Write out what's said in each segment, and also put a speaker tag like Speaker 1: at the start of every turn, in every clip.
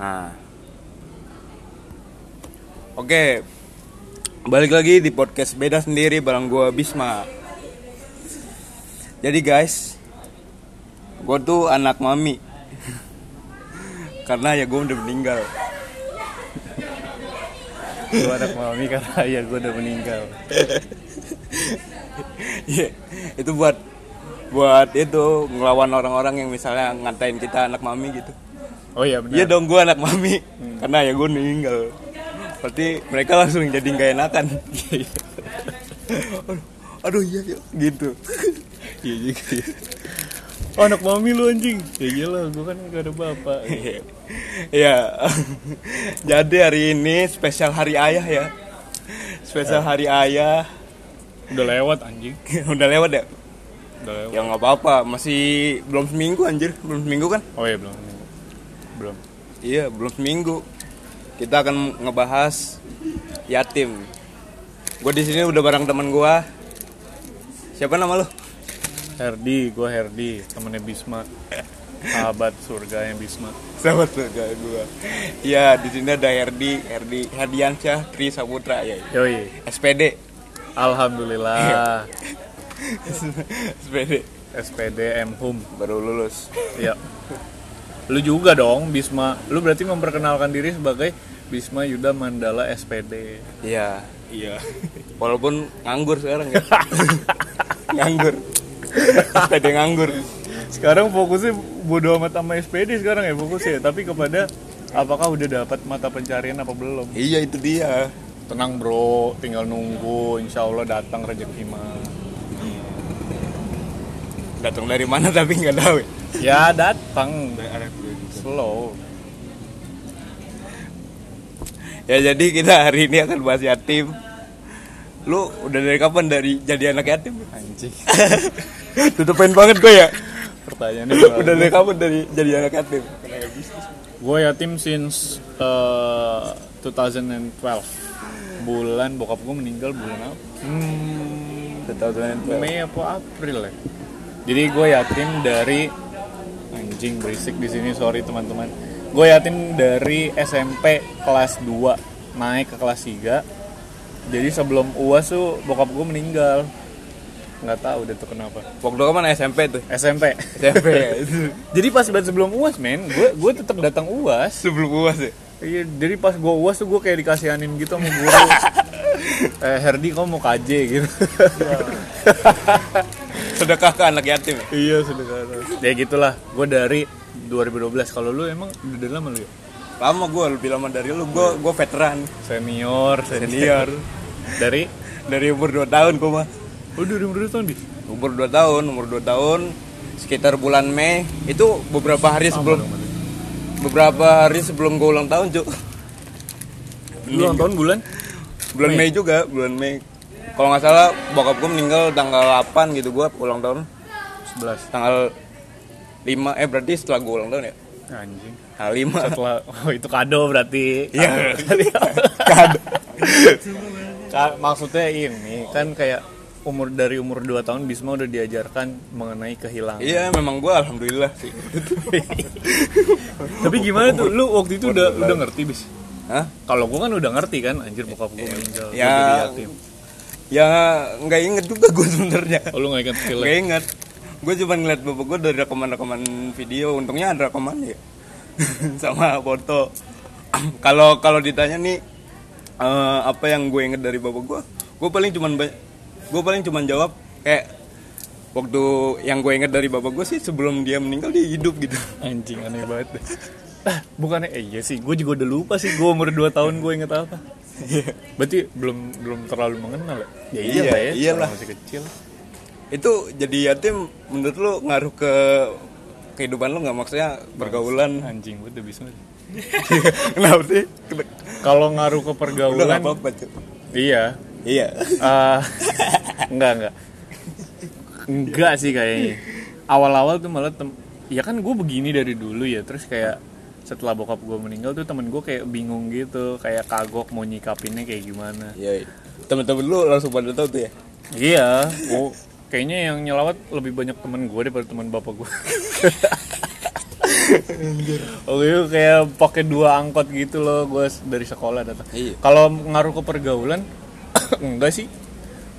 Speaker 1: Nah. Oke. Balik lagi di podcast beda sendiri bareng gua Bisma. Jadi guys, gue tuh anak mami. Karena ya gue udah meninggal.
Speaker 2: gue anak mami karena ayah gue udah meninggal
Speaker 1: Iya, itu buat buat itu ngelawan orang-orang yang misalnya ngatain kita anak mami gitu.
Speaker 2: oh iya benar
Speaker 1: Iya dong gue anak mami karena ya gue meninggal. Berarti mereka langsung jadi nggak enakan. aduh, aduh iya iya, gitu.
Speaker 2: iya juga iya. oh anak mami lu anjing ya iyalah gue kan gak ada bapak
Speaker 1: ya jadi hari ini spesial hari ayah ya. Spesial hari ayah
Speaker 2: udah lewat anjing
Speaker 1: udah lewat ya.
Speaker 2: udah lewat
Speaker 1: Ya nggak apa-apa masih belum seminggu anjir belum seminggu kan?
Speaker 2: oh iya belum belum
Speaker 1: Iya belum seminggu. Kita akan ngebahas yatim. Gue di sini udah bareng teman gue. Siapa nama lu?
Speaker 2: Herdi gue Herdi temennya Bisma sahabat surganya Bisma
Speaker 1: Sahabat surga gue. Iya di sini ada Herdi, Herdi, Herdiansyah Tri Saputra ya.
Speaker 2: yoi
Speaker 1: SPD,
Speaker 2: alhamdulillah
Speaker 1: SPD
Speaker 2: SPD M Hum
Speaker 1: baru lulus.
Speaker 2: ya lu juga dong Bisma lu berarti memperkenalkan diri sebagai Bisma Yuda Mandala SPD
Speaker 1: Iya.
Speaker 2: iya
Speaker 1: Walaupun nganggur sekarang ya. nganggur. SPD nganggur.
Speaker 2: sekarang fokusnya bodo amat sama SPD sekarang ya fokusnya tapi kepada apakah udah dapat mata pencarian apa belum
Speaker 1: Iya itu dia.
Speaker 2: tenang bro tinggal nunggu insya Allah datang rezeki mah
Speaker 1: Datang dari mana tapi nggak tahu. ya.
Speaker 2: ya datang slow
Speaker 1: Ya jadi kita hari ini akan bahas yatim. Lu udah dari kapan dari jadi anak yatim?
Speaker 2: anjing
Speaker 1: Tutupin banget gue ya.
Speaker 2: pertanyaannya
Speaker 1: Udah dari kapan dari jadi anak yatim?
Speaker 2: gue yatim since uh, 2012 bulan bokap gue meninggal bulan apa hmm,
Speaker 1: 2012.
Speaker 2: Mei apa April ya jadi gue yatim dari anjing berisik di sini sorry teman-teman gue yatim dari SMP kelas 2 naik ke kelas 3 jadi sebelum uas tuh bokap gue meninggal nggak tahu deh tuh kenapa
Speaker 1: Waktu kapan SMP tuh?
Speaker 2: SMP
Speaker 1: SMP ya.
Speaker 2: jadi pas banget sebelum uas men gue gue tetap datang uas
Speaker 1: Sebelum puas ya.
Speaker 2: Iya, jadi pas gue uas tuh gue kayak dikasihanin gitu sama guru. eh, Herdi kamu mau KJ gitu.
Speaker 1: Sedekah ke anak yatim. ya?
Speaker 2: iya, sebenarnya. Ya gitulah, gue dari 2012. Kalau lu emang udah dari lama lu ya?
Speaker 1: Lama gue lebih lama dari lu. Gue gue veteran
Speaker 2: Senior,
Speaker 1: senior.
Speaker 2: dari
Speaker 1: Dari umur 2 tahun gue mah.
Speaker 2: Oh, dari umur tahun, Bis?
Speaker 1: Umur 2 tahun, umur 2 tahun sekitar bulan Mei itu beberapa hari sebelum beberapa hari sebelum gue ulang tahun cuy
Speaker 2: Lu ulang tahun bulan?
Speaker 1: bulan Mei. juga bulan Mei kalau nggak salah bokap gue meninggal tanggal 8 gitu gue ulang tahun
Speaker 2: 11.
Speaker 1: tanggal 5 eh berarti setelah gue ulang tahun ya Nah,
Speaker 2: Anjing.
Speaker 1: tanggal 5
Speaker 2: Setelah oh, itu kado berarti.
Speaker 1: Iya.
Speaker 2: kado. Ka- maksudnya ini kan kayak umur dari umur 2 tahun Bisma udah diajarkan mengenai kehilangan.
Speaker 1: iya memang gue alhamdulillah sih
Speaker 2: Tapi gimana tuh? Lu waktu itu udah udah ngerti bis?
Speaker 1: Hah?
Speaker 2: Kalau gua kan udah ngerti kan, anjir bokap gua meninggal, gua
Speaker 1: Ya.
Speaker 2: jadi yatim.
Speaker 1: ya nggak inget juga gue sebenarnya
Speaker 2: Oh, lu nggak ingat skill?
Speaker 1: nggak inget gue cuma ngeliat bapak gue dari rekaman-rekaman video untungnya ada rekaman ya sama foto kalau kalau ditanya nih eh, apa yang gue inget dari bapak gue gue paling cuman gue paling cuman jawab kayak waktu yang gue inget dari bapak gue sih sebelum dia meninggal dia hidup gitu
Speaker 2: Anjing aneh banget. deh. Ah, bukannya eh iya sih, gua juga udah lupa sih gua umur 2 tahun gua inget apa. Berarti belum belum terlalu mengenal ya? Ya iya,
Speaker 1: Iya,
Speaker 2: lah ya,
Speaker 1: iyalah.
Speaker 2: orang masih kecil.
Speaker 1: itu jadi yatim menurut lo ngaruh ke kehidupan lo nggak maksudnya pergaulan
Speaker 2: Anjing gua udah bisa.
Speaker 1: kenapa sih
Speaker 2: Kalau ngaruh ke
Speaker 1: udah nggak
Speaker 2: pergaulan,
Speaker 1: apa-apa Cuk.
Speaker 2: iya.
Speaker 1: iya
Speaker 2: Eh, enggak enggak enggak sih kayaknya awal-awal tuh malah tem- ya kan gue begini dari dulu ya terus kayak setelah bokap gue meninggal tuh temen gue kayak bingung gitu kayak kagok mau nyikapinnya kayak gimana
Speaker 1: Iya. Temen-temen lu langsung pada tahu tuh ya.
Speaker 2: iya oh, kayaknya yang nyelawat lebih banyak temen gue daripada teman bapak gue Oke, Oh, iya, kayak pakai dua angkot gitu loh gue dari sekolah datang.
Speaker 1: Iya.
Speaker 2: Kalau ngaruh ke pergaulan enggak sih.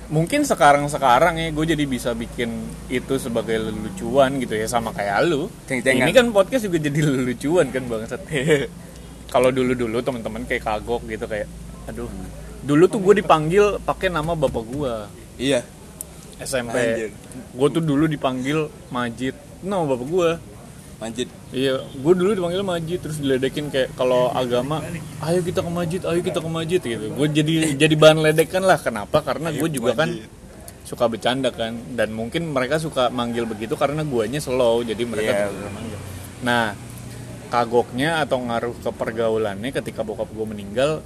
Speaker 2: Mungkin sekarang-sekarang ya gue jadi bisa bikin itu sebagai lelucuan gitu ya sama kayak lu.
Speaker 1: Ceng-cengan.
Speaker 2: Ini kan podcast juga jadi lelucuan kan bangsat. Kalau dulu-dulu teman-teman kayak kagok gitu kayak aduh. Dulu tuh gue dipanggil pakai nama bapak gue.
Speaker 1: iya Anjir.
Speaker 2: SMP gue tuh dulu dipanggil Majid nama bapak gue
Speaker 1: Manjit
Speaker 2: iya gue dulu dipanggil Majid terus diledekin kayak kalau agama ayo kita ke Majid ayo kita ke Majid gitu gue jadi jadi bahan ledekan lah kenapa karena gue juga kan suka bercanda kan dan mungkin mereka suka manggil begitu karena guanya slow jadi mereka
Speaker 1: Iya,
Speaker 2: tuh suka manggil nah kagoknya atau ngaruh ke pergaulannya ketika bokap gue meninggal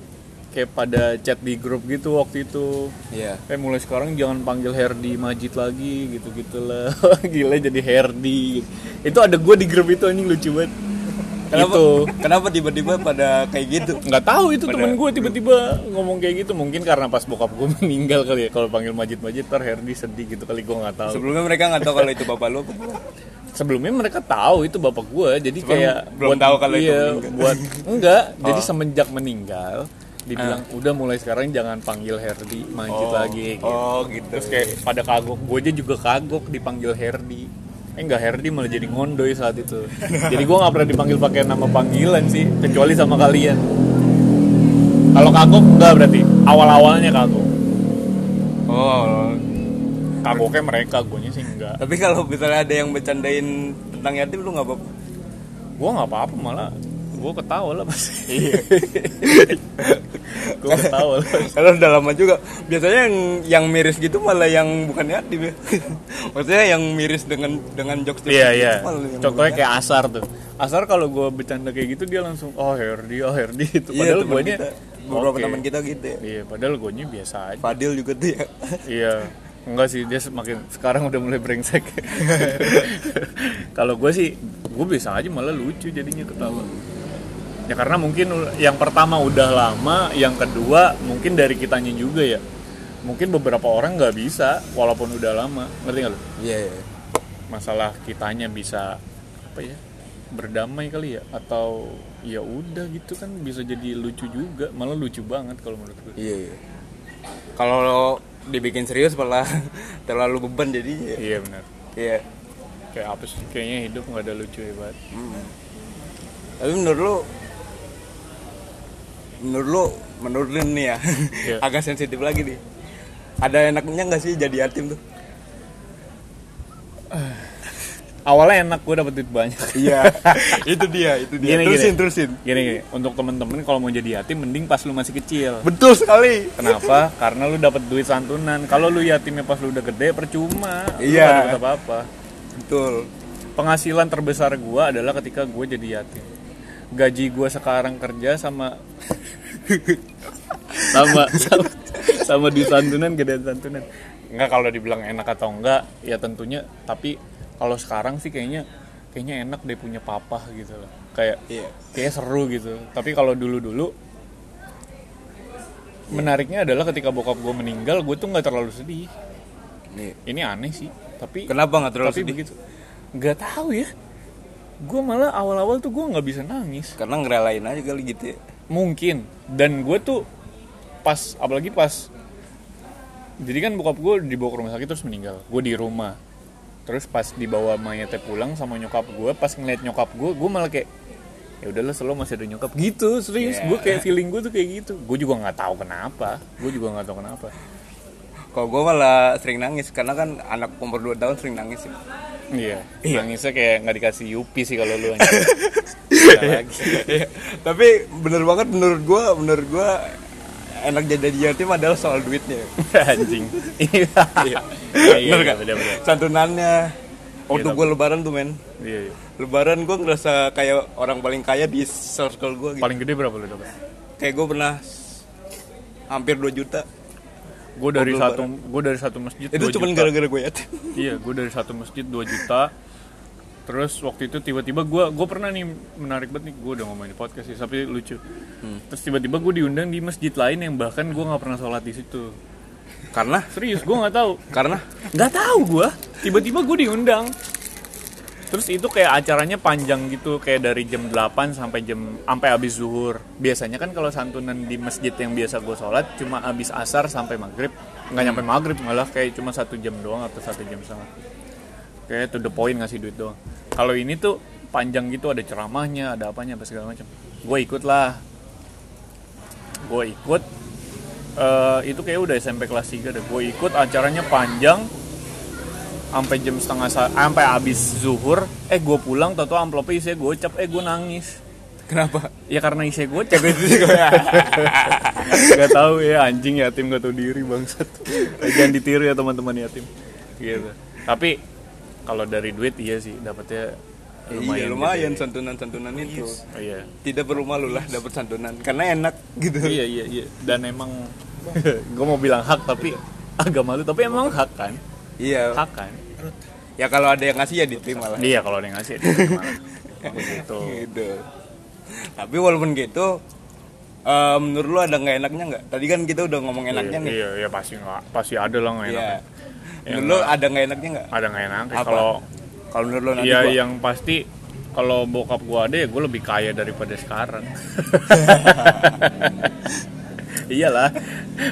Speaker 2: kayak pada chat di grup gitu waktu itu
Speaker 1: iya
Speaker 2: Eh mulai sekarang jangan panggil Herdi Majid lagi gitu-gitu lah. Gila jadi Herdi. Itu ada gue di grup itu anjing lucu banget.
Speaker 1: kenapa
Speaker 2: Itu
Speaker 1: kenapa tiba-tiba pada kayak gitu
Speaker 2: nggak tahu itu
Speaker 1: Pada
Speaker 2: temen gue tiba-tiba ngomong kayak gitu mungkin karena pas bokap gue meninggal kali ya kalau panggil Majid Majid ter Herdi sedih gitu kali gue nggak tahu
Speaker 1: sebelumnya mereka nggak tahu kalau itu bapak lu apa bukan.
Speaker 2: sebelumnya mereka tahu itu bapak gue jadi
Speaker 1: Sebelum-
Speaker 2: kayak
Speaker 1: belum tahu kalau itu
Speaker 2: iya,
Speaker 1: meninggal. Oh.
Speaker 2: buat enggak jadi semenjak meninggal dibilang udah mulai sekarang jangan panggil Herdi Majid lagi gitu.
Speaker 1: Ah. oh gitu
Speaker 2: Terus kayak pada kagok, gue aja juga kagok dipanggil Herdi. Eh enggak Herdi malah jadi ngondoy saat itu. Jadi gue nggak pernah dipanggil pakai nama panggilan sih, kecuali sama kalian. Kalau kagok enggak berarti awal-awalnya kagok.
Speaker 1: oh
Speaker 2: Kagoknya mereka, guanya sih enggak.
Speaker 1: tapi kalau misalnya ada yang bercandain tentang yatim lu nggak apa-apa
Speaker 2: Gue nggak apa-apa malah gue ketawa lah pasti.
Speaker 1: Iya.
Speaker 2: gue ketawa lah.
Speaker 1: Karena udah lama juga. Biasanya yang yang miris gitu malah yang bukan yatim ya. Maksudnya yang miris dengan dengan jokes
Speaker 2: Iya iya. Contohnya
Speaker 1: ya.
Speaker 2: kayak Asar tuh. Asar kalau gue bercanda kayak gitu dia langsung oh Herdi oh Herdi itu.
Speaker 1: Padahal
Speaker 2: Padahal gue
Speaker 1: Iya, kita, beberapa teman kita gitu ya.
Speaker 2: Iya, padahal guanya biasa aja.
Speaker 1: Fadil juga tuh ya.
Speaker 2: Iya, enggak sih dia semakin sekarang udah mulai brengsek. Kalau gue sih, gue biasa aja malah lucu jadinya ketawa. Ya karena mungkin u- yang pertama udah lama, yang kedua mungkin dari kitanya juga ya. Mungkin beberapa orang nggak bisa, walaupun udah lama, ngerti nggak lu?
Speaker 1: Iya. iya.
Speaker 2: Masalah kitanya bisa apa ya? Berdamai kali ya, atau ya udah gitu kan bisa jadi lucu juga, malah lucu banget kalau menurut gue.
Speaker 1: Iya. iya. Kalau lo dibikin serius malah terlalu beban jadinya.
Speaker 2: Iya benar.
Speaker 1: Iya.
Speaker 2: Kayak apa sih? Kayaknya hidup nggak ada lucu ya banget.
Speaker 1: Mm. Tapi menurut lo menurut lo menurut lo nih ya
Speaker 2: Iya.
Speaker 1: agak sensitif lagi nih ada enaknya nggak sih jadi yatim tuh
Speaker 2: awalnya enak gue dapet duit banyak
Speaker 1: Iya, itu dia, itu dia.
Speaker 2: Gini,
Speaker 1: terusin,
Speaker 2: gini.
Speaker 1: terusin.
Speaker 2: gini, gini untuk temen-temen kalau mau jadi yatim mending pas lu masih kecil
Speaker 1: Betul sekali.
Speaker 2: kenapa karena lu dapet duit santunan kalau lu yatimnya pas lu udah gede percuma
Speaker 1: Iya.
Speaker 2: lu gak dapet apa-apa
Speaker 1: Betul.
Speaker 2: penghasilan terbesar gue adalah ketika gue jadi yatim gaji gue sekarang kerja sama sama sama, sama duit santunan gedean santunan nggak kalau dibilang enak atau enggak ya tentunya tapi kalau sekarang sih kayaknya kayaknya enak deh punya papa gitu loh kayak
Speaker 1: Iya.
Speaker 2: kayak seru gitu tapi kalau dulu dulu menariknya adalah ketika bokap gue meninggal gue tuh nggak terlalu sedih
Speaker 1: Nih,
Speaker 2: ini aneh sih tapi
Speaker 1: kenapa nggak terlalu
Speaker 2: tapi
Speaker 1: sedih?
Speaker 2: begitu nggak tahu ya gue malah awal-awal tuh gue nggak bisa nangis
Speaker 1: Karena ngerelain aja kali gitu. ya.
Speaker 2: mungkin dan gue tuh pas apalagi pas jadi kan bokap gue dibawa ke rumah sakit terus meninggal gue di rumah terus pas dibawa mayatnya pulang sama nyokap gue pas ngeliat nyokap gue gue malah kayak ya udahlah selalu masih ada nyokap gitu serius
Speaker 1: Iya.
Speaker 2: gue kayak feeling gue tuh kayak gitu gue juga nggak tahu kenapa gue juga nggak tahu kenapa
Speaker 1: Kalau gue malah sering nangis karena kan anak umur 2 tahun sering nangis. ya.
Speaker 2: iya, nangisnya kayak nggak dikasih yupi sih kalau lu anjing. Nggak lagi.
Speaker 1: Iya. Tapi bener banget menurut gue, menurut gue enak jadi yatim adalah soal duitnya.
Speaker 2: anjing iya iya iya
Speaker 1: Bener
Speaker 2: iya
Speaker 1: nggak?
Speaker 2: bener, bener.
Speaker 1: Santunannya. Waktu gue lebaran tuh men,
Speaker 2: iya iya
Speaker 1: lebaran gue ngerasa kayak orang paling kaya di circle gue. Gitu.
Speaker 2: paling gede berapa lu dapat
Speaker 1: Kayak gue pernah hampir 2 juta.
Speaker 2: gue dari satu gue dari satu masjid
Speaker 1: Itu
Speaker 2: 2
Speaker 1: cuma
Speaker 2: juta.
Speaker 1: gara-gara ya, gue yatim.
Speaker 2: iya gue dari satu masjid 2 juta terus waktu itu tiba-tiba gue gue pernah nih menarik banget nih gue udah ngomongin di podcast sih tapi lucu terus tiba-tiba gue diundang di masjid lain yang bahkan gue nggak pernah sholat di situ
Speaker 1: Karena
Speaker 2: serius gue nggak tahu
Speaker 1: karena
Speaker 2: nggak tahu gue tiba-tiba gue diundang Terus itu kayak acaranya panjang gitu kayak dari jam 8 sampai jam sampai habis zuhur. Biasanya kan kalau santunan di masjid yang biasa gue sholat cuma habis asar sampai maghrib. Nggak nyampe maghrib malah kayak cuma satu jam doang atau satu jam setengah. Kayak to the point ngasih duit doang. Kalau ini tuh panjang gitu ada ceramahnya, ada apanya apa segala macam. Gue ikut lah. Gue ikut Eh, itu kayak udah SMP kelas 3 deh. Gue ikut acaranya panjang sampai jam setengah sa- sampai habis zuhur eh gue pulang tau tau amplopnya isinya gocap eh gue nangis
Speaker 1: Kenapa?
Speaker 2: ya karena isinya gocap nggak tahu ya anjing yatim gak tahu diri bangsat jangan ditiru ya teman-teman yatim gitu tapi kalau dari duit iya sih dapatnya lumayan
Speaker 1: iya
Speaker 2: gitu
Speaker 1: lumayan
Speaker 2: ya.
Speaker 1: santunan-santunan itu.
Speaker 2: Oh, iya
Speaker 1: Tidak perlu malu lah dapat santunan karena enak gitu.
Speaker 2: iya iya iya dan emang gue mau bilang hak tapi agak malu tapi emang hak kan
Speaker 1: Iya.
Speaker 2: hak kan
Speaker 1: Ya kalau ada yang ngasih ya diterima lah.
Speaker 2: iya kalau ada yang ngasih diterima lah. gitu
Speaker 1: Gitu. Tapi walaupun gitu eh, menurut lu ada nggak enaknya nggak? Tadi kan kita udah ngomong enaknya
Speaker 2: iya,
Speaker 1: nih.
Speaker 2: iya, iya, pasti nggak pasti ada lah nggak
Speaker 1: Iya.
Speaker 2: enaknya
Speaker 1: Menurut lu ada nggak enaknya nggak?
Speaker 2: ada nggak enaknya
Speaker 1: Apa?
Speaker 2: kalau
Speaker 1: Kalau menurut lu nanti
Speaker 2: iya
Speaker 1: gua-
Speaker 2: yang pasti kalau bokap gua ada ya gua lebih kaya daripada sekarang iyalah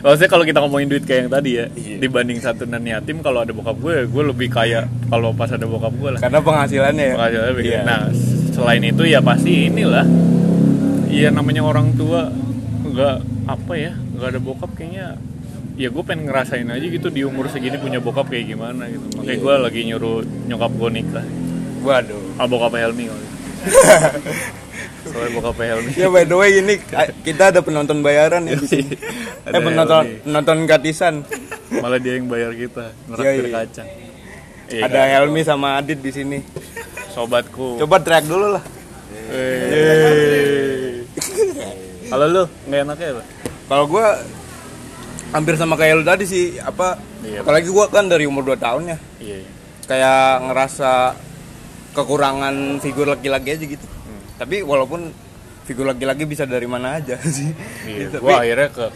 Speaker 2: maksudnya kalau kita ngomongin duit kayak yang tadi ya
Speaker 1: Iya.
Speaker 2: dibanding santunan yatim kalau ada bokap gue gue lebih kaya kalau pas ada bokap gue lah
Speaker 1: karena penghasilannya ya.
Speaker 2: Penghasilannya lebih-
Speaker 1: Iya.
Speaker 2: nah selain itu ya pasti inilah ya namanya orang tua nggak apa ya nggak ada bokap kayaknya ya gue pengen ngerasain aja gitu di umur segini punya bokap kayak gimana gitu makanya
Speaker 1: Iya.
Speaker 2: gue lagi nyuruh nyokap gue nikah
Speaker 1: Waduh.
Speaker 2: ah bokap Helmi kali. soalnya bokap Helmi
Speaker 1: Ya by the way ini a- kita ada penonton bayaran ya di sini.
Speaker 2: Iya. Ada
Speaker 1: eh penonton
Speaker 2: Helmi.
Speaker 1: penonton gratisan.
Speaker 2: malah dia yang bayar kita
Speaker 1: Iya,
Speaker 2: neraktir
Speaker 1: iya.
Speaker 2: kacang Iya
Speaker 1: ada
Speaker 2: kan?
Speaker 1: Helmi sama Adit di sini.
Speaker 2: sobatku
Speaker 1: Coba track dulu lah.
Speaker 2: Yeay. Halo lu, nggak enaknya apa?
Speaker 1: Kalau gua hampir sama kayak lu tadi sih apa
Speaker 2: Iya.
Speaker 1: apalagi gua kan dari umur 2 tahun ya
Speaker 2: Iya. iya.
Speaker 1: kayak ngerasa kekurangan figur laki-laki aja gitu. Tapi walaupun figur laki-laki bisa dari mana aja sih.
Speaker 2: Iya,
Speaker 1: Tapi
Speaker 2: gua akhirnya ke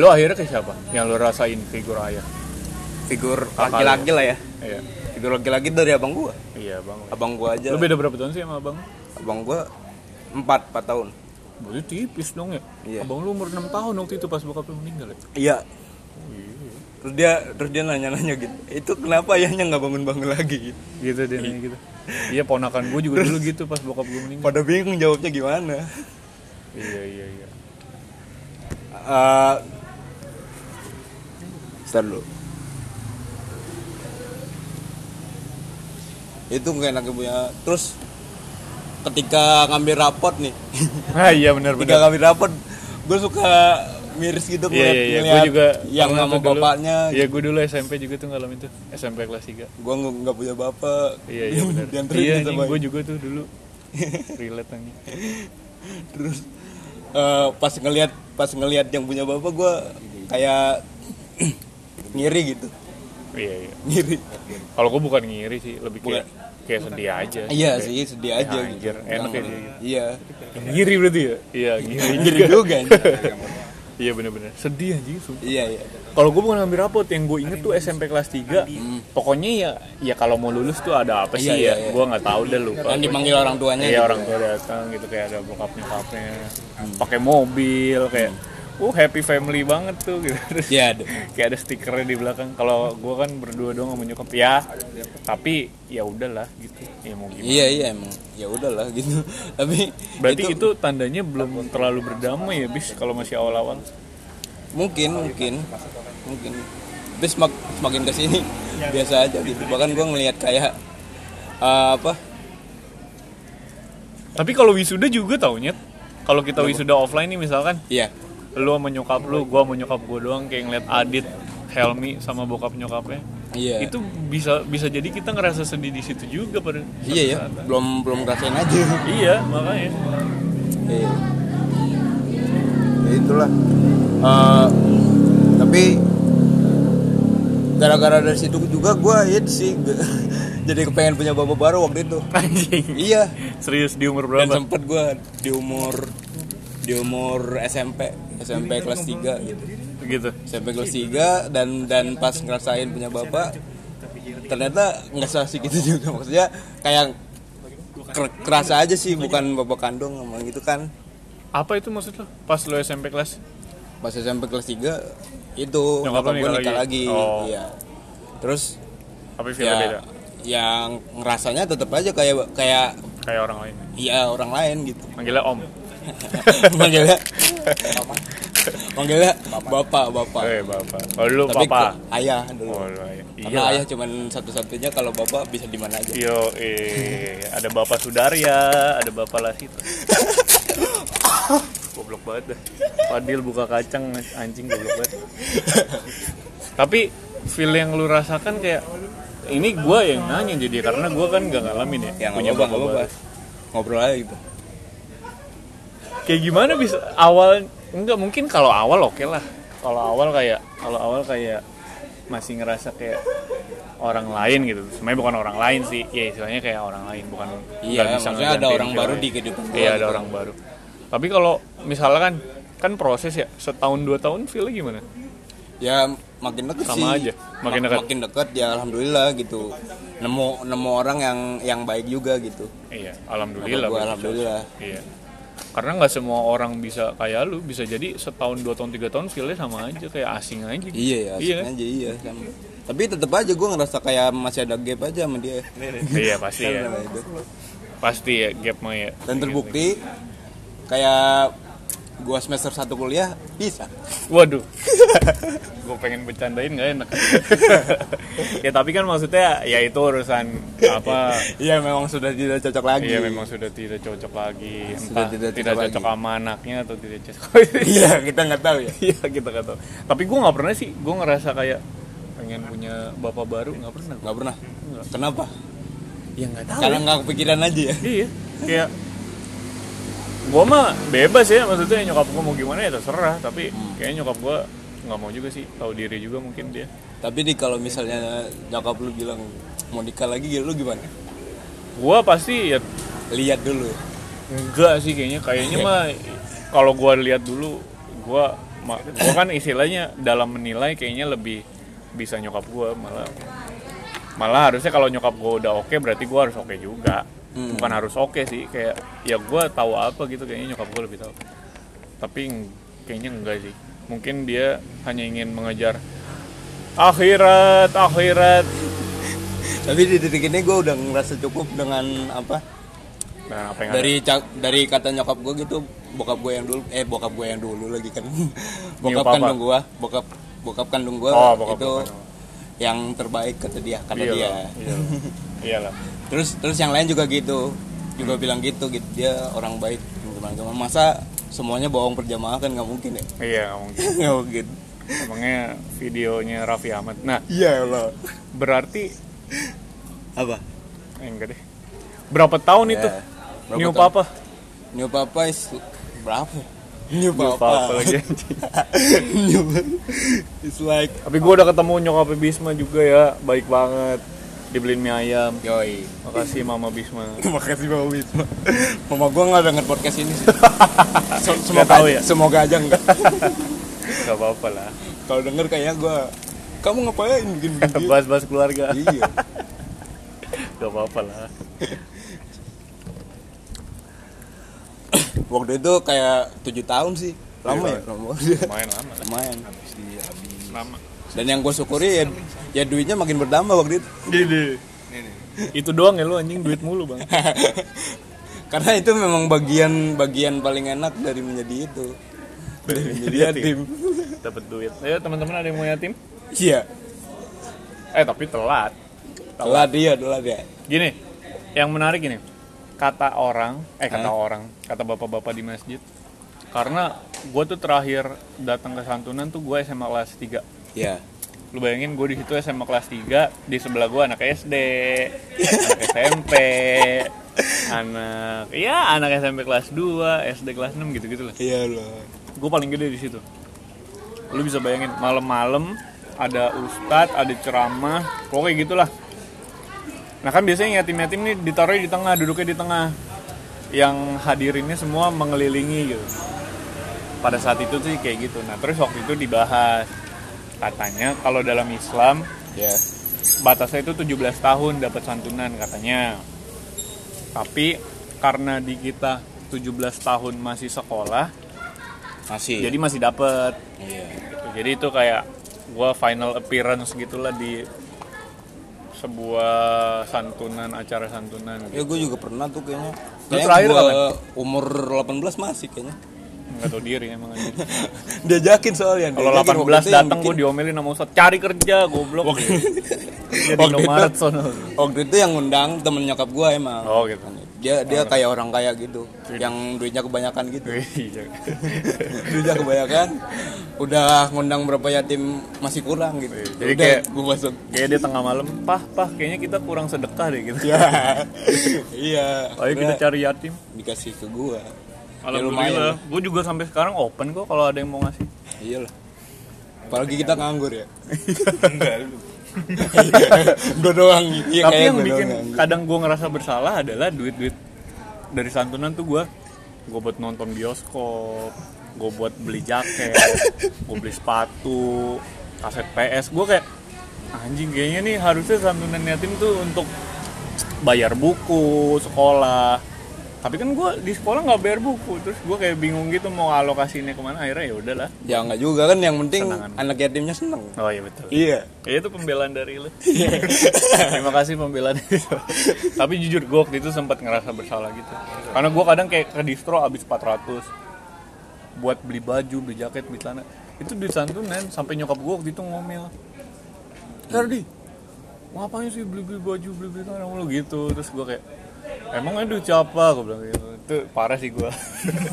Speaker 2: lu akhirnya ke siapa? Yang lu rasain figur ayah.
Speaker 1: figur
Speaker 2: Kakak
Speaker 1: laki-laki lah ya.
Speaker 2: Iya.
Speaker 1: Figur laki-laki dari abang gua.
Speaker 2: Iya, Bang.
Speaker 1: Abang gua aja.
Speaker 2: Lu beda berapa tahun sih sama Abang?
Speaker 1: Abang gua 4 4 tahun.
Speaker 2: Berarti tipis dong ya.
Speaker 1: Iya.
Speaker 2: Abang lu umur 6 tahun waktu itu pas bokap lu meninggal ya.
Speaker 1: Iya. Terus dia terus dia nanya-nanya gitu. Itu kenapa ayahnya nggak bangun-bangun lagi?
Speaker 2: Gitu dia nanya gitu. Iya, ponakan gue juga dulu gitu pas bokap gue meninggal.
Speaker 1: Pada bingung jawabnya gimana.
Speaker 2: Iya, iya, iya.
Speaker 1: Eh Bentar dulu. Itu nggak enak ibunya. Terus ketika ngambil rapot nih,
Speaker 2: Ah, iya
Speaker 1: ketika
Speaker 2: benar-benar.
Speaker 1: ngambil rapot, gue suka miris gitu
Speaker 2: Iya,
Speaker 1: ngeliat-
Speaker 2: iya, iya. Gue
Speaker 1: ngeliat
Speaker 2: juga
Speaker 1: yang
Speaker 2: pernah
Speaker 1: nggak mau
Speaker 2: tuh dulu-
Speaker 1: bapaknya. gitu.
Speaker 2: Iya, gue dulu SMP juga tuh ngalamin tuh. SMP kelas 3.
Speaker 1: Gue nggak punya bapak.
Speaker 2: Iya, iya benar.
Speaker 1: Dianterin gitu,
Speaker 2: Iya,
Speaker 1: sama
Speaker 2: gue juga tuh dulu. Relate anjing.
Speaker 1: terus eh, pas ngelihat pas ngelihat yang punya bapak gue kayak ngiri gitu
Speaker 2: Iya, iya.
Speaker 1: ngiri
Speaker 2: Kalau gue bukan ngiri sih, lebih kayak kayak sedih aja.
Speaker 1: iya
Speaker 2: Kayak-
Speaker 1: sih sedih aja
Speaker 2: Ya,
Speaker 1: gitu
Speaker 2: anjir, enak ya dia.
Speaker 1: iya
Speaker 2: Ngiri berarti ya? Iya, ngiri.
Speaker 1: ngiri juga anjir.
Speaker 2: Iya bener-bener. Sedih anjing sumpah.
Speaker 1: iya iya
Speaker 2: Kalau gue bukan ngambil rapot, yang gue inget tuh SMP kelas 3 Pokoknya ya, ya kalau mau lulus tuh ada apa sih
Speaker 1: Iya, iya,
Speaker 2: ya?
Speaker 1: iya.
Speaker 2: Gue nggak tahu deh lupa.
Speaker 1: kan dipanggil orang tuanya
Speaker 2: Iya
Speaker 1: gitu.
Speaker 2: orang tua datang gitu kayak ada bokap nyokapnya,
Speaker 1: Hmm.
Speaker 2: pakai mobil kayak, uh happy family banget tuh gitu. Terus
Speaker 1: iya aduh.
Speaker 2: kayak ada stikernya di belakang. Kalau gue kan berdua doang sama nyokap ya, tapi ya udahlah gitu. Ya mau gimana?
Speaker 1: iya iya emang ya udahlah gitu tapi
Speaker 2: Berarti itu, tandanya belum terlalu berdamai ya bis kalau masih awal-awal.
Speaker 1: mungkin mungkin mungkin tapi semak, semakin kesini biasa aja gitu bahkan gue ngelihat kayak eh, apa
Speaker 2: Tapi kalau wisuda juga tau Nyet. Kalau kita wisuda offline nih misalkan
Speaker 1: iya
Speaker 2: lu sama nyokap lu, gua sama nyokap gua doang kayak ngeliat Adit, Helmi sama bokap nyokapnya.
Speaker 1: iya
Speaker 2: Itu bisa bisa jadi kita ngerasa sedih di situ juga pada suatu
Speaker 1: Iya ya,
Speaker 2: saat.
Speaker 1: belum belum ngerasain aja.
Speaker 2: Iya, makanya.
Speaker 1: Iya. Ya itulah. Eh, tapi gara-gara dari situ juga gue itu sih ge- jadi kepengen punya bapak baru waktu itu.
Speaker 2: Anjing.
Speaker 1: Iya.
Speaker 2: Serius di umur
Speaker 1: Dan
Speaker 2: berapa?
Speaker 1: sempet gue di umur di umur SMP SMP kelas 3 gitu.
Speaker 2: Gitu.
Speaker 1: SMP kelas 3 dan dan pas ngerasain punya bapak ternyata nggak asik gitu juga maksudnya kayak ker- kerasa aja sih bukan bapak kandung emang gitu kan
Speaker 2: Apa itu maksud lo? Pas lo SMP kelas?
Speaker 1: pas SMP kelas 3 itu
Speaker 2: Nyokap lo
Speaker 1: nyokap gue
Speaker 2: nikah
Speaker 1: nikah
Speaker 2: lagi?
Speaker 1: lagi,
Speaker 2: Oh.
Speaker 1: iya terus
Speaker 2: Apa feel
Speaker 1: ya
Speaker 2: beda?
Speaker 1: yang ngerasanya tetap aja kayak kayak
Speaker 2: Kayak orang lain.
Speaker 1: ya orang lain gitu
Speaker 2: Manggilnya Om.
Speaker 1: manggilnya manggilnya bapak bapak
Speaker 2: Eh, Bapak. Oh, lu
Speaker 1: tapi
Speaker 2: Papa.
Speaker 1: ke- ayah dulu
Speaker 2: Oh, lu ayah.
Speaker 1: karena ayah cuman satu-satunya kalau bapak bisa di mana aja
Speaker 2: Yo, eh, ada Bapak Sudarya, ada Bapak Lasito. goblok banget dah. Fadil buka kacang anjing goblok banget. Tapi feel yang lu rasakan kayak ini gue yang nanya jadi karena gue kan gak ngalamin
Speaker 1: ya
Speaker 2: ya,
Speaker 1: nggak apa-apa nggak apa-apa
Speaker 2: baru.
Speaker 1: ngobrol aja gitu
Speaker 2: Kayak gimana bisa awal enggak mungkin kalau awal oke lah. Kalau awal kayak kalau awal kayak masih ngerasa kayak orang lain gitu. Sebenarnya bukan orang lain sih. Ya istilahnya kayak orang lain bukan
Speaker 1: iya
Speaker 2: nggak bisa
Speaker 1: maksudnya ada
Speaker 2: ngegantiin
Speaker 1: orang baru
Speaker 2: feelnya.
Speaker 1: di kehidupan gua
Speaker 2: Iya ada
Speaker 1: gitu.
Speaker 2: orang baru. Tapi kalau misalkan kan proses ya setahun dua tahun feel gimana?
Speaker 1: ya makin deket
Speaker 2: Sama
Speaker 1: sih
Speaker 2: aja,
Speaker 1: Ma-
Speaker 2: makin deket.
Speaker 1: makin deket ya alhamdulillah gitu nemu nemu orang yang yang baik juga gitu
Speaker 2: Iya
Speaker 1: Gua
Speaker 2: alhamdulillah. bagus.
Speaker 1: alhamdulillah
Speaker 2: Iya. Karena nggak semua orang bisa kayak lu bisa jadi setahun dua tahun tiga tahun feelnya sama aja kayak asing aja.
Speaker 1: iya ya
Speaker 2: Iya.
Speaker 1: iya. aja iya sama. tapi tetap aja gue ngerasa kayak masih ada gap aja sama dia
Speaker 2: Iya pasti ya
Speaker 1: Karena itu.
Speaker 2: pasti ya gap mah ya.
Speaker 1: dan terbukti kayak gua semester satu kuliah bisa
Speaker 2: Waduh. gue pengen bercandain nggak enak. ya tapi kan maksudnya ya itu urusan apa
Speaker 1: iya memang sudah tidak cocok lagi
Speaker 2: Iya memang sudah tidak cocok lagi
Speaker 1: Sudah
Speaker 2: entah
Speaker 1: tidak
Speaker 2: tidak,
Speaker 1: cocok
Speaker 2: cocok,
Speaker 1: lagi.
Speaker 2: sama anaknya atau tidak cocok
Speaker 1: iya kita nggak tahu ya
Speaker 2: iya kita nggak tahu tapi gue nggak pernah sih gue ngerasa kayak pengen punya bapak baru nggak pernah
Speaker 1: nggak pernah kenapa
Speaker 2: Iya. ya nggak tahu
Speaker 1: karena nggak kepikiran aja ya
Speaker 2: iya kayak gue mah bebas ya maksudnya nyokap gue mau gimana ya terserah tapi kayaknya nyokap gue nggak mau juga sih tahu diri juga mungkin dia
Speaker 1: tapi di kalau misalnya nyokap lu bilang mau nikah lagi ya lu gimana
Speaker 2: gue pasti ya
Speaker 1: lihat dulu
Speaker 2: Enggak sih kayaknya kayaknya mah kalau gua lihat dulu gua ma- gua kan istilahnya dalam menilai kayaknya lebih bisa nyokap gua malah malah harusnya kalau nyokap gua udah oke berarti gua harus oke juga bukan harus oke sih kayak ya gua tahu apa gitu kayaknya nyokap gua lebih tahu tapi eng- kayaknya enggak sih mungkin dia hanya ingin mengejar akhirat akhirat
Speaker 1: tapi di titik ini gue udah ngerasa cukup dengan apa
Speaker 2: nah apa yang ada?
Speaker 1: dari ca- dari kata nyokap gue gitu bokap gue yang dulu eh bokap gue yang dulu lagi kan bokap
Speaker 2: Iya, papa.
Speaker 1: kandung gue bokap bokap kandung gue
Speaker 2: Oh, bokap
Speaker 1: itu
Speaker 2: lu kandung.
Speaker 1: yang terbaik kata dia kata
Speaker 2: Iya
Speaker 1: dia
Speaker 2: lah, iya lah. iyalah
Speaker 1: terus terus yang lain juga gitu juga
Speaker 2: Hmm.
Speaker 1: bilang gitu gitu dia orang baik gimana gimana masa semuanya bohong perjamaah kan nggak mungkin ya
Speaker 2: iya nggak mungkin
Speaker 1: nggak mungkin
Speaker 2: Emangnya videonya Raffi Ahmad. Nah,
Speaker 1: iya lah
Speaker 2: berarti
Speaker 1: apa
Speaker 2: eh, enggak deh. Berapa tahun itu?
Speaker 1: Ya, berapa
Speaker 2: New
Speaker 1: tahun?
Speaker 2: Papa.
Speaker 1: new papa is berapa ya? new,
Speaker 2: Papa lagi,
Speaker 1: new Papa. it's like
Speaker 2: Tapi gue udah ketemu nyokap Bisma juga ya, baik banget. Dibeliin mie ayam.
Speaker 1: yoi
Speaker 2: Makasih Mama Bisma.
Speaker 1: Makasih Mama Wisma. Mama gue nggak denger podcast ini. Sih. Se- semoga
Speaker 2: Nggak tahu ya?
Speaker 1: semoga aja enggak.
Speaker 2: Gak apa-apa lah.
Speaker 1: Kalau denger kayaknya gue, kamu ngapain gitu?" bikin video?
Speaker 2: Bahas-bahas keluarga.
Speaker 1: iya.
Speaker 2: Gak apa-apa lah.
Speaker 1: Waktu itu kayak tujuh tahun sih. Lama ya, lama.
Speaker 2: Main lama lah.
Speaker 1: Lumayan.
Speaker 2: Lama.
Speaker 1: Dan yang gue syukuri ya, ya duitnya makin bertambah waktu itu.
Speaker 2: Gini. Itu doang ya lu anjing duit mulu bang.
Speaker 1: Karena itu memang bagian bagian paling enak dari menjadi itu. Dari menjadi ya, yatim.
Speaker 2: Dapat duit. Ayo teman-teman ada yang mau yatim?
Speaker 1: Iya.
Speaker 2: Eh tapi telat.
Speaker 1: Telat dia, telat ya. dia.
Speaker 2: Gini, yang menarik ini kata orang, eh kata orang, kata bapak-bapak di masjid. Karena gue tuh terakhir datang ke Santunan tuh gue SMA kelas 3
Speaker 1: Iya.
Speaker 2: Lu bayangin gue di situ SMA kelas 3 di sebelah gue anak SD, anak SMP, anak ya anak SMP kelas 2, SD kelas 6 gitu-gitu lah.
Speaker 1: Iya loh.
Speaker 2: Gue paling gede di situ. Lu bisa bayangin malam-malam ada ustadz, ada ceramah, pokoknya gitulah. Nah kan biasanya yatim-yatim nih ditaruh di tengah, duduknya di tengah. Yang hadirinnya semua mengelilingi gitu. Pada saat itu sih kayak gitu. Nah terus waktu itu dibahas. Katanya kalau dalam Islam
Speaker 1: Iya.
Speaker 2: batasnya itu 17 tahun dapat santunan katanya. Tapi karena di kita 17 tahun masih sekolah,
Speaker 1: masih
Speaker 2: jadi masih dapet.
Speaker 1: iya.
Speaker 2: Gitu. Jadi itu kayak gua final appearance gitulah di sebuah santunan acara santunan. gitu.
Speaker 1: ya gue juga pernah tuh kayaknya
Speaker 2: Lu
Speaker 1: Kayaknya
Speaker 2: terakhir
Speaker 1: gua
Speaker 2: kapan?
Speaker 1: umur 18 masih kayaknya
Speaker 2: Nggak tahu diri emang. anjing.
Speaker 1: diajakin soalnya
Speaker 2: Kalau
Speaker 1: diajakin. Waktu
Speaker 2: 18
Speaker 1: itu yang
Speaker 2: datang gue
Speaker 1: bikin-
Speaker 2: diomelin sama Ustaz cari kerja goblok. Jadi
Speaker 1: Waktu itu-
Speaker 2: Indomaret sono.
Speaker 1: waktu itu yang ngundang temen nyokap gue emang
Speaker 2: Oh Iya. gitu.
Speaker 1: dia dia kayak orang kaya gitu yang duitnya kebanyakan gitu
Speaker 2: Iya.
Speaker 1: duitnya kebanyakan udah ngundang berapa yatim masih kurang gitu
Speaker 2: Iya, Jadi
Speaker 1: udah,
Speaker 2: kayak-
Speaker 1: gue masuk
Speaker 2: Kayak dia tengah malam, pah pah kayaknya kita kurang sedekah deh gitu.
Speaker 1: ya iya
Speaker 2: Ayo Oh, kita
Speaker 1: akhirnya
Speaker 2: cari yatim.
Speaker 1: dikasih ke gue Ya,
Speaker 2: Alhamdulillah. Gue juga sampai sekarang open kok kalau ada yang mau ngasih.
Speaker 1: iyalah apalagi kita nganggur ya gue doang iya,
Speaker 2: Tapi
Speaker 1: kayaknya
Speaker 2: yang
Speaker 1: gua doang
Speaker 2: bikin
Speaker 1: nganggur.
Speaker 2: kadang gue ngerasa bersalah adalah duit-duit dari santunan tuh gue gue buat nonton bioskop, gue buat beli jaket, gue beli sepatu, kaset PS. Gue kayak anjing kayaknya nih harusnya santunan yatim tuh untuk bayar buku, sekolah. Tapi kan gue di sekolah nggak bayar buku, terus gue kayak bingung gitu mau alokasinya kemana. Akhirnya ya udahlah.
Speaker 1: ya nggak juga kan yang penting
Speaker 2: Senangan.
Speaker 1: anak yatimnya seneng
Speaker 2: Oh iya betul.
Speaker 1: iya
Speaker 2: Ya itu pembelaan dari lu. Terima kasih pembelaan itu. Tapi jujur gue waktu itu sempat ngerasa bersalah gitu. Karena gue kadang kayak ke distro abis 400 buat beli baju, beli jaket, beli celana. Itu duit santunan sampai nyokap gue waktu itu ngomel. Kardi, ngapain sih beli-beli baju, beli-beli celana mulu gitu. Terus gue kayak Emangnya duit siapa? Gue bilang gitu. Itu parah sih gue.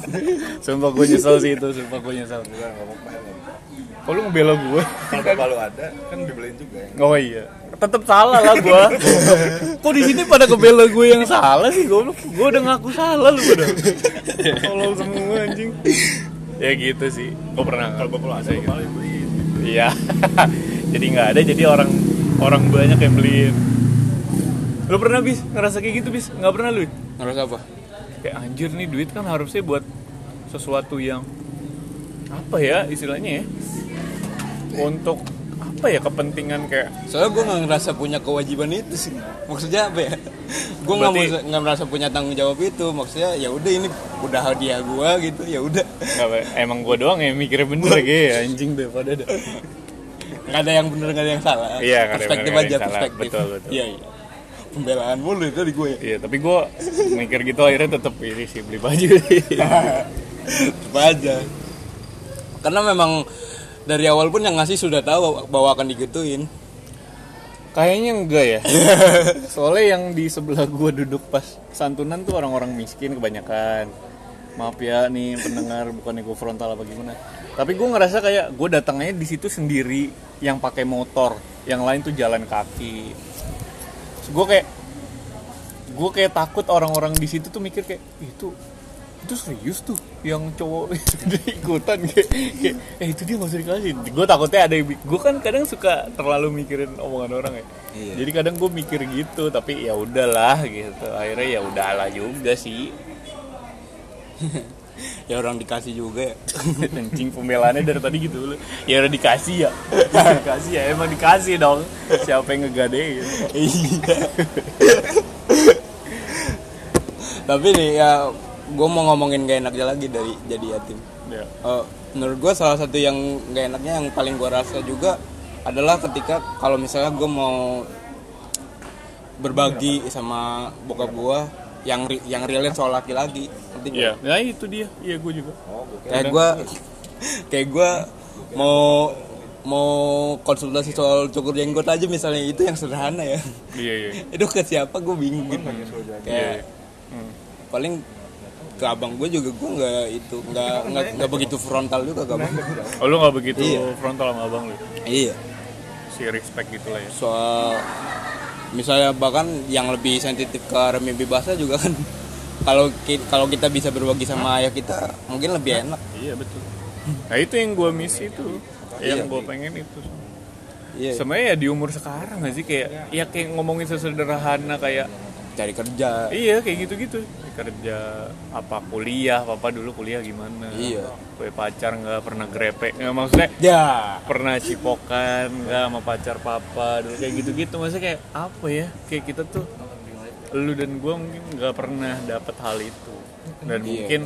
Speaker 2: sumpah gue nyesel sih itu. Sumpah gue nyesel.
Speaker 3: Enggak, nggak apa-apa.
Speaker 2: Kok lu ngebela gue?
Speaker 3: Kalau bapak lu ada, kan dibeliin juga ya.
Speaker 2: Oh iya, tetap salah lah gua. Kok di sini pada kebela gue yang salah sih gua Gua udah ngaku salah lu udah. Tolol semua anjing. Ya gitu sih. Gua pernah kalau
Speaker 3: Bapak lu ada,
Speaker 2: gitu.
Speaker 3: lu malah dibeliin.
Speaker 2: Iya. jadi nggak ada jadi orang orang banyak yang beliin. Lu pernah bis ngerasa kayak gitu bis? Nggak pernah lu? Bis?
Speaker 1: ngerasa apa
Speaker 2: Kayak anjir nih duit kan harusnya buat sesuatu yang apa ya istilahnya ya? Untuk apa ya kepentingan kayak
Speaker 1: soalnya gue nggak ngerasa punya kewajiban itu sih maksudnya apa ya gue nggak
Speaker 2: Berarti-
Speaker 1: merasa- nggak merasa punya tanggung jawab itu maksudnya ya udah ini udah hadiah gue gitu ya udah
Speaker 2: Nggak, Pak. emang gue doang yang mikirnya bener lagi ya anjing deh pada ada.
Speaker 1: nggak ada yang benar nggak ada yang salah
Speaker 2: Iya, nggak ada yang
Speaker 1: perspektif
Speaker 2: benar, nggak ada
Speaker 1: aja
Speaker 2: yang salah.
Speaker 1: perspektif
Speaker 2: Betul, betul.
Speaker 1: iya iya pembelaan mulu itu di gue ya
Speaker 2: Iya, tapi gue mikir gitu akhirnya tetap ini sih beli baju.
Speaker 1: apa aja karena memang dari awal pun yang ngasih sudah tahu bahwa akan digituin
Speaker 2: Kayaknya enggak ya. Soalnya yang di sebelah gue duduk pas santunan tuh orang-orang miskin kebanyakan. Maaf ya nih pendengar bukan gue frontal apa gimana. Tapi gue ngerasa kayak gue datangnya di situ sendiri yang pakai motor, yang lain tuh jalan kaki. gue kayak gue kayak takut orang-orang di situ tuh mikir kayak itu itu serius tuh yang cowok itu dia ikutan kayak, kayak, eh itu dia nggak usah dikasih gue takutnya ada gue kan kadang suka terlalu mikirin omongan orang ya
Speaker 1: Iya.
Speaker 2: jadi kadang gue mikir gitu tapi ya udahlah gitu akhirnya ya udahlah juga sih
Speaker 1: ya orang dikasih juga ya
Speaker 2: Kencing pembelaannya dari tadi gitu dulu ya udah dikasih ya dikasih ya emang dikasih dong siapa yang ngegadein
Speaker 1: Iya. Tapi nih ya gue mau ngomongin gak enaknya lagi dari jadi yatim.
Speaker 2: ya.
Speaker 1: Eh, menurut gue salah satu yang gak enaknya yang paling gue rasa juga adalah ketika kalau misalnya gue mau berbagi sama bokap gue yang ri- yang relate soal laki-laki. Ngerti nggak?
Speaker 2: Iya. Nah itu dia, iya gue juga.
Speaker 1: kayak gue kayak gue mau mau konsultasi soal cukur jenggot aja misalnya itu yang sederhana ya
Speaker 2: Iya iya.
Speaker 1: itu ke siapa gue bingung gitu kayak Hmm. paling ke abang gue juga gue nggak itu nggak nggak nggak begitu frontal juga ke abang gua.
Speaker 2: Oh lu nggak begitu
Speaker 1: Iya.
Speaker 2: frontal sama abang lu,
Speaker 1: iya
Speaker 2: si respect gitu lah ya.
Speaker 1: soal misalnya bahkan yang lebih sensitif ke arah mimpi basah juga kan kalau ki- kalau kita bisa berbagi sama ayah kita mungkin lebih enak
Speaker 2: Iya betul. Nah itu yang gue miss itu, yang gue pengen itu.
Speaker 1: iya
Speaker 2: Sebenarnya ya di umur sekarang gak sih kayak ya kayak ngomongin sesederhana kayak
Speaker 1: cari kerja
Speaker 2: iya kayak gitu-gitu kerja apa kuliah papa dulu kuliah gimana
Speaker 1: Iya.
Speaker 2: gue pacar nggak pernah grepe nggak maksudnya
Speaker 1: ya
Speaker 2: pernah cipokan nggak sama pacar papa dulu kayak gitu-gitu maksudnya kayak apa ya kayak kita tuh lu dan gue mungkin nggak pernah dapat hal itu dan
Speaker 1: Iya.
Speaker 2: mungkin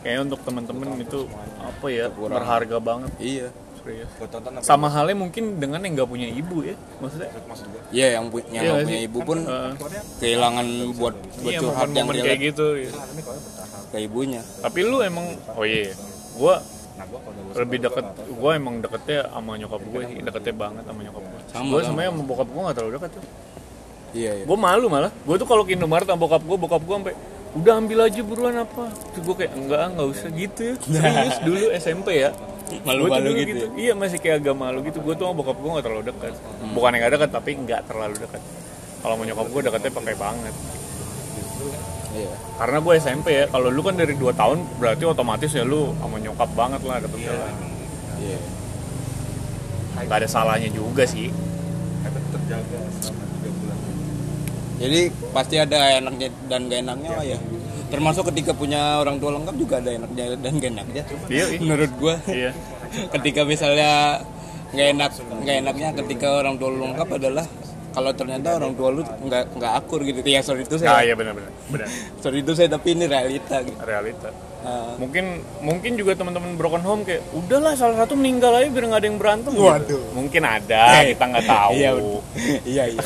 Speaker 2: kayaknya untuk temen-temen itu apa ya berharga banget
Speaker 1: iya
Speaker 2: serius
Speaker 3: Buat tonton apa?
Speaker 2: sama halnya mungkin dengan yang nggak punya ibu ya maksudnya
Speaker 3: Maksud gue.
Speaker 1: iya yang punya
Speaker 2: Iya nggak
Speaker 1: punya
Speaker 2: sih?
Speaker 1: ibu pun
Speaker 2: Eh,
Speaker 1: kehilangan buat buat
Speaker 2: iya
Speaker 1: curhat yang
Speaker 2: momen-momen kayak
Speaker 1: relate
Speaker 2: gitu ya.
Speaker 1: ke ibunya
Speaker 2: tapi lu emang oh iya gue
Speaker 1: Nah,
Speaker 2: lebih deket gue emang deketnya sama nyokap gue sih deketnya banget sama nyokap gue
Speaker 1: Sama,
Speaker 2: gue
Speaker 1: sama.
Speaker 2: sebenarnya sama bokap gue nggak terlalu deket tuh
Speaker 1: iya iya
Speaker 2: gue malu malah gue tuh kalau ke Indomaret sama bokap gue bokap gue sampai udah ambil aja buruan apa terus gue kayak enggak enggak usah gitu serius dulu SMP ya Gua tuh
Speaker 1: malu-malu
Speaker 2: dulu
Speaker 1: gitu,
Speaker 2: iya masih kayak agak malu gitu gue tuh sama bokap gue nggak terlalu dekat
Speaker 1: Hmm.
Speaker 2: bukan yang gak dekat tapi nggak terlalu dekat kalau mau nyokap gue dekatnya pakai banget
Speaker 1: iya
Speaker 2: karena gue SMP ya kalau lu kan dari 2 tahun berarti otomatis ya lu sama nyokap banget lah deketnya lah
Speaker 1: iya
Speaker 2: nggak ada salahnya juga sih
Speaker 3: Habit terjaga selama 3 bulan.
Speaker 1: jadi pasti ada enaknya dan gak enaknya lah ya termasuk ketika punya orang tua lengkap juga ada enaknya dan gak enaknya
Speaker 2: iya iya.
Speaker 1: menurut gua
Speaker 2: iya
Speaker 1: ketika misalnya nggak enak nggak enaknya ketika orang tua lu lengkap adalah kalau ternyata orang tua lu nggak nggak akur gitu ya sorry itu
Speaker 2: nah
Speaker 1: saya
Speaker 2: iya benar benar benar
Speaker 1: sorry itu saya tapi ini realita gitu.
Speaker 2: realita
Speaker 1: Nah,
Speaker 2: mungkin mungkin juga teman-teman broken home kayak udahlah salah satu meninggal aja biar nggak ada yang berantem gitu.
Speaker 1: Waduh.
Speaker 2: mungkin ada kita nggak tahu
Speaker 1: iya iya iya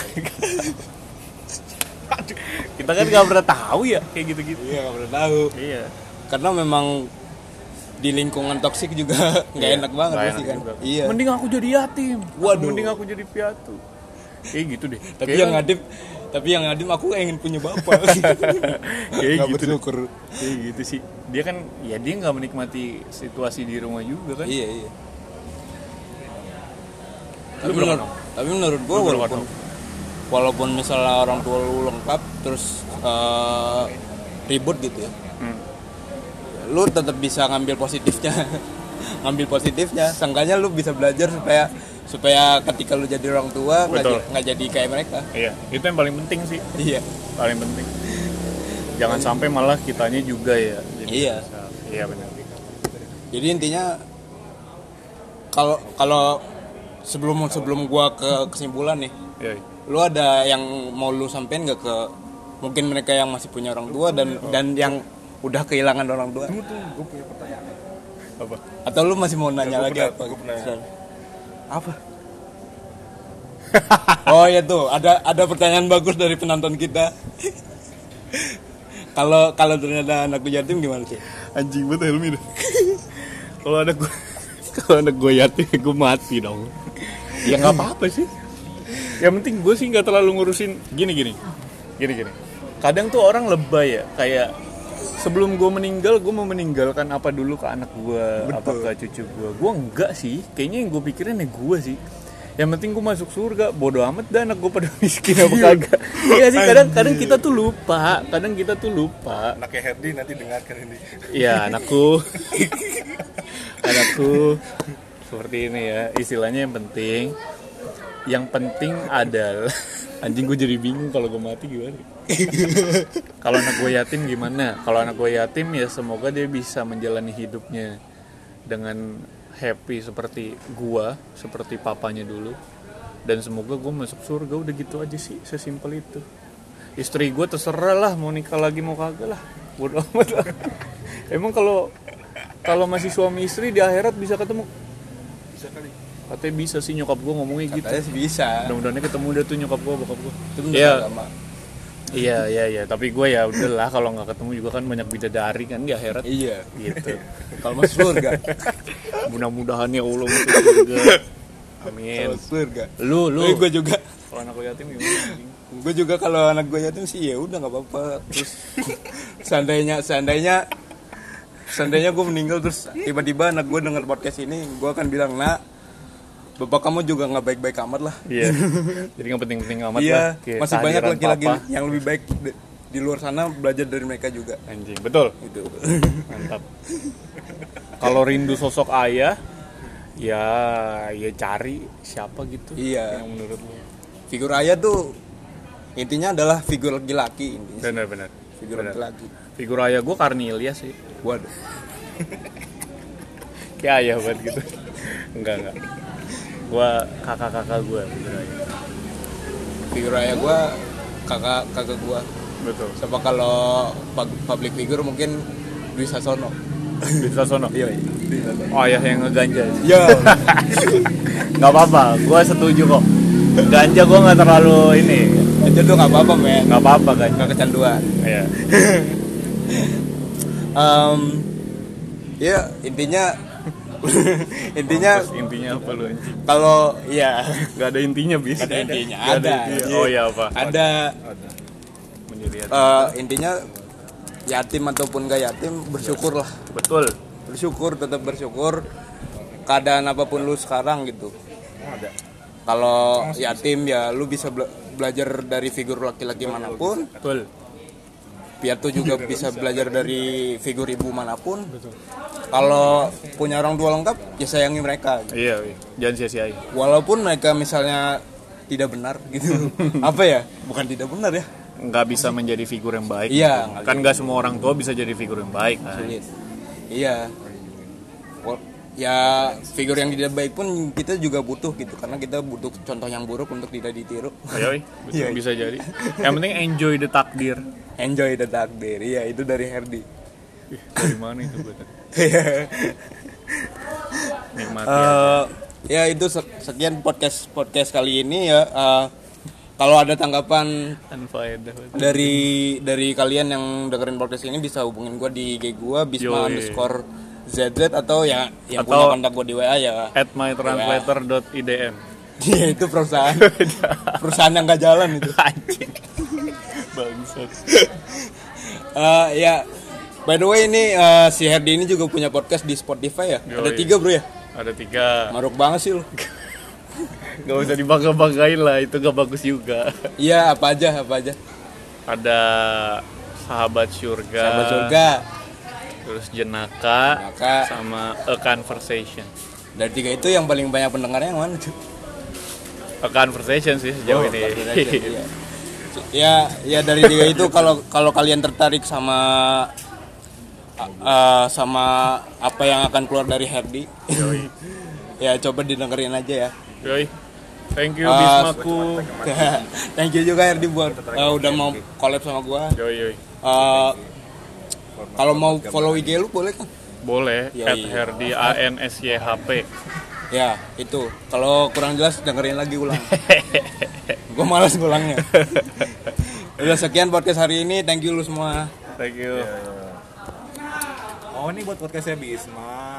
Speaker 2: kita kan nggak pernah tahu ya kayak gitu-gitu
Speaker 1: iya nggak pernah tahu
Speaker 2: iya
Speaker 1: karena memang di lingkungan toksik juga nggak enak banget
Speaker 2: Iya, Nggak
Speaker 1: pasti
Speaker 2: enak
Speaker 1: kan
Speaker 2: juga.
Speaker 1: iya
Speaker 2: mending aku jadi yatim
Speaker 1: Waduh.
Speaker 2: mending aku jadi piatu kayak gitu deh
Speaker 1: tapi
Speaker 2: Kayak-
Speaker 1: yang ngadim tapi yang ngadim aku ingin punya bapak
Speaker 2: Kayak
Speaker 1: Nggak
Speaker 2: gitu.
Speaker 1: bersyukur
Speaker 2: kayak gitu sih dia kan ya dia nggak menikmati situasi di rumah juga kan
Speaker 1: iya iya
Speaker 2: Lu
Speaker 1: tapi
Speaker 2: berapa
Speaker 1: menurut,
Speaker 2: dong?
Speaker 1: tapi menurut gue
Speaker 2: Lu berapa
Speaker 1: walaupun
Speaker 2: dong?
Speaker 1: walaupun misalnya orang tua lu lengkap terus eh, ribut gitu ya
Speaker 2: Hmm.
Speaker 1: lu tetap bisa ngambil positifnya ngambil positifnya seenggaknya lu bisa belajar supaya supaya ketika lu jadi orang tua nggak
Speaker 2: Betul.
Speaker 1: j- nggak jadi kayak mereka
Speaker 2: iya itu yang paling penting sih
Speaker 1: iya
Speaker 2: paling penting jangan sampai malah kitanya juga ya jadi
Speaker 1: Iya.
Speaker 2: susah. iya benar
Speaker 1: jadi intinya kalau kalau sebelum sebelum gua ke kesimpulan nih
Speaker 2: iya
Speaker 1: lu ada yang mau lu sampein gak ke mungkin mereka yang masih punya orang tua dan dan yang udah kehilangan orang tua
Speaker 3: Gue punya pertanyaan.
Speaker 2: apa
Speaker 1: atau lu masih mau nanya
Speaker 3: Gua
Speaker 1: lagi
Speaker 3: pernah-
Speaker 1: apa gitu?
Speaker 3: gua pernah.
Speaker 1: Sel? apa oh ya tuh ada ada pertanyaan bagus dari penonton kita kalau kalau ternyata anak lu yatim gimana sih
Speaker 2: anjing banget Helmi dah. kalau anak gue kalau anak gue yatim gue mati dong ya nggak apa-apa sih yang penting gue sih nggak terlalu ngurusin gini gini gini gini kadang tuh orang lebay ya kayak sebelum gue meninggal gue mau meninggalkan apa dulu ke anak gue apa ke cucu gue gue enggak sih kayaknya yang gue pikirin ya gue sih yang penting gue masuk surga bodoh amat dah anak gue pada miskin apa kagak iya sih kadang kadang kita tuh lupa kadang kita tuh lupa
Speaker 3: Anaknya Herdi nanti dengarkan ini.
Speaker 2: Iya anakku Anakku Seperti ini ya Istilahnya yang penting Yang penting adalah Anjing gue jadi bingung kalau gue mati gimana Kalau anak gue yatim gimana Kalau anak gue yatim ya semoga dia bisa menjalani hidupnya Dengan happy seperti gua Seperti papanya dulu Dan semoga gue masuk surga udah gitu aja sih Sesimpel itu Istri gue terserah lah mau nikah lagi mau kagak lah Bodo amat lah Emang kalau kalau masih suami istri di akhirat bisa ketemu?
Speaker 3: Bisa kali.
Speaker 2: Katanya bisa sih nyokap gue ngomongnya gitu.
Speaker 1: katanya sih bisa
Speaker 2: Mudah-mudahan ketemu dia tuh nyokap gue, bokap gue.
Speaker 1: itu menurut
Speaker 2: Iya,
Speaker 1: agama
Speaker 2: iya, iya, iya. Tapi gue ya udahlah kalau nggak ketemu juga kan banyak bidadari kan di akhirat.
Speaker 1: iya
Speaker 2: Gitu.
Speaker 1: kalau masuk surga
Speaker 2: Mudah-mudahan ya Allah masuk surga. Amin.
Speaker 1: masuk surga
Speaker 2: Lu, lu.
Speaker 1: Tapi gue juga
Speaker 2: Eh, Kalau anak gue yatim gimana? anjing?
Speaker 1: gue juga kalau anak gue yatim sih ya udah nggak apa-apa terus seandainya seandainya seandainya gue meninggal terus tiba-tiba anak gue denger podcast ini gue akan bilang nak bapak kamu juga nggak baik-baik amat lah
Speaker 2: Iya. Jadi nggak penting-penting amat lah.
Speaker 1: iya
Speaker 2: Kayak
Speaker 1: masih banyak
Speaker 2: kehadiran
Speaker 1: laki-laki
Speaker 2: papa.
Speaker 1: yang lebih baik di, di luar sana belajar dari mereka juga
Speaker 2: Anjing, betul.
Speaker 1: gitu
Speaker 2: Mantap. Kalau rindu sosok ayah, ya ya cari siapa gitu
Speaker 1: Iya.
Speaker 2: yang menurut lu.
Speaker 1: figur ayah tuh intinya adalah figur laki-laki intinya
Speaker 2: Benar-benar.
Speaker 1: figur laki-laki
Speaker 2: Figur ayah gue Karnelia sih.
Speaker 1: waduh
Speaker 2: Kayak ayah banget gitu. enggak enggak. Gue kakak-kakak gue figur ayah.
Speaker 1: figur ayah gue kakak kakak gue
Speaker 2: Betul.
Speaker 1: Sama kalau pub- public figure mungkin Dwi Sasono.
Speaker 2: Di Sasono.
Speaker 1: Iya.
Speaker 2: Oh ya yang ngeganja.
Speaker 1: Iya.
Speaker 2: Gak apa-apa, gue setuju kok. Ganja gue nggak terlalu ini,
Speaker 1: Itu tuh nggak apa-apa men.
Speaker 2: nggak apa-apa ganja.
Speaker 1: Nggak kecanduan.
Speaker 2: Iya.
Speaker 1: Em, ya intinya intinya
Speaker 2: Terus intinya apa lu anjing?
Speaker 1: kalau ya
Speaker 2: Gak ada intinya bis.
Speaker 1: ada intinya
Speaker 2: Nggak
Speaker 1: ada.
Speaker 2: intinya. Oh ya apa?
Speaker 1: Ada
Speaker 3: ada
Speaker 2: Menjadi hati.
Speaker 1: eh, intinya yatim ataupun gak yatim bersyukur lah
Speaker 2: Betul.
Speaker 1: bersyukur tetap bersyukur keadaan apapun lu sekarang gitu
Speaker 3: Oh, ada
Speaker 1: kalau yatim ya lu bisa bela- belajar dari figur laki-laki manapun
Speaker 2: Betul.
Speaker 1: piatu juga bisa belajar dari figur ibu manapun kalau punya orang tua lengkap ya sayangi mereka
Speaker 2: Iya, iya. jangan sia-siain.
Speaker 1: walaupun mereka misalnya tidak benar gitu apa ya bukan tidak benar ya
Speaker 2: Nggak bisa menjadi figur yang baik.
Speaker 1: Iya, nggak
Speaker 2: Kan nggak semua orang tua bisa jadi figur yang baik. Kan?
Speaker 1: Sulit. Iya. Wal- Ya figur yang tidak baik pun kita juga butuh gitu karena kita butuh contoh yang buruk untuk tidak ditiru.
Speaker 2: Ayo, betul,
Speaker 1: Iya.
Speaker 2: bisa jadi. Yang penting enjoy the takdir.
Speaker 1: Enjoy the takdir. Iya, itu dari Herdi.
Speaker 2: Dari mana itu gue tadi?
Speaker 1: Iya.
Speaker 2: Nikmati.
Speaker 1: Eh, ya itu sek- sekian podcast podcast kali ini ya. Eh, kalau ada tanggapan
Speaker 2: Eh. Unfaedah.
Speaker 1: dari dari kalian yang dengerin podcast ini bisa hubungin gua di IG gua bisma
Speaker 2: Yoi.
Speaker 1: underscore zz atau ya yang
Speaker 2: Atau-
Speaker 1: punya kontak gua di WA ya.
Speaker 2: At mytranslator.idm
Speaker 1: Iya itu perusahaan perusahaan yang gak jalan itu.
Speaker 2: Anjing. Bangsat.
Speaker 1: Eh, ya, by the way ini eh, si Herdi ini juga punya podcast di Spotify ya. Ada
Speaker 2: Yoi.
Speaker 1: tiga bro ya.
Speaker 2: Ada tiga.
Speaker 1: Maruk banget sih lu.
Speaker 2: Gak usah dibangga-banggain lah, itu gak bagus juga.
Speaker 1: Iya apa aja apa aja.
Speaker 2: Ada sahabat surga,
Speaker 1: Sahabat surga.
Speaker 2: terus jenaka,
Speaker 1: Jenaka.
Speaker 2: sama a conversation.
Speaker 1: Dari tiga itu yang paling banyak pendengarnya yang mana? cuy?
Speaker 2: A conversation sih
Speaker 1: Oh,
Speaker 2: sejauh ini.
Speaker 1: Conversation, iya. Ya ya dari tiga itu kalau kalau kalian tertarik sama eh, sama apa yang akan keluar dari Herdi. ya coba didengerin aja ya.
Speaker 2: Yoi. Thank you
Speaker 1: Ah,
Speaker 2: Bismaku.
Speaker 1: Thank you juga Herdi buat eh, udah mau collab sama gua.
Speaker 2: Yoi yoi.
Speaker 1: Eh, kalau mau follow IG lu boleh kan?
Speaker 2: Boleh
Speaker 1: Yoi.
Speaker 2: at Herdi A N S Y H P.
Speaker 1: Ya, itu. Kalau kurang jelas dengerin lagi ulang. Gue malas ngulangnya. Udah sekian podcast hari ini. Thank you lu semua.
Speaker 2: Thank you.
Speaker 3: oh ini buat podcastnya Bisma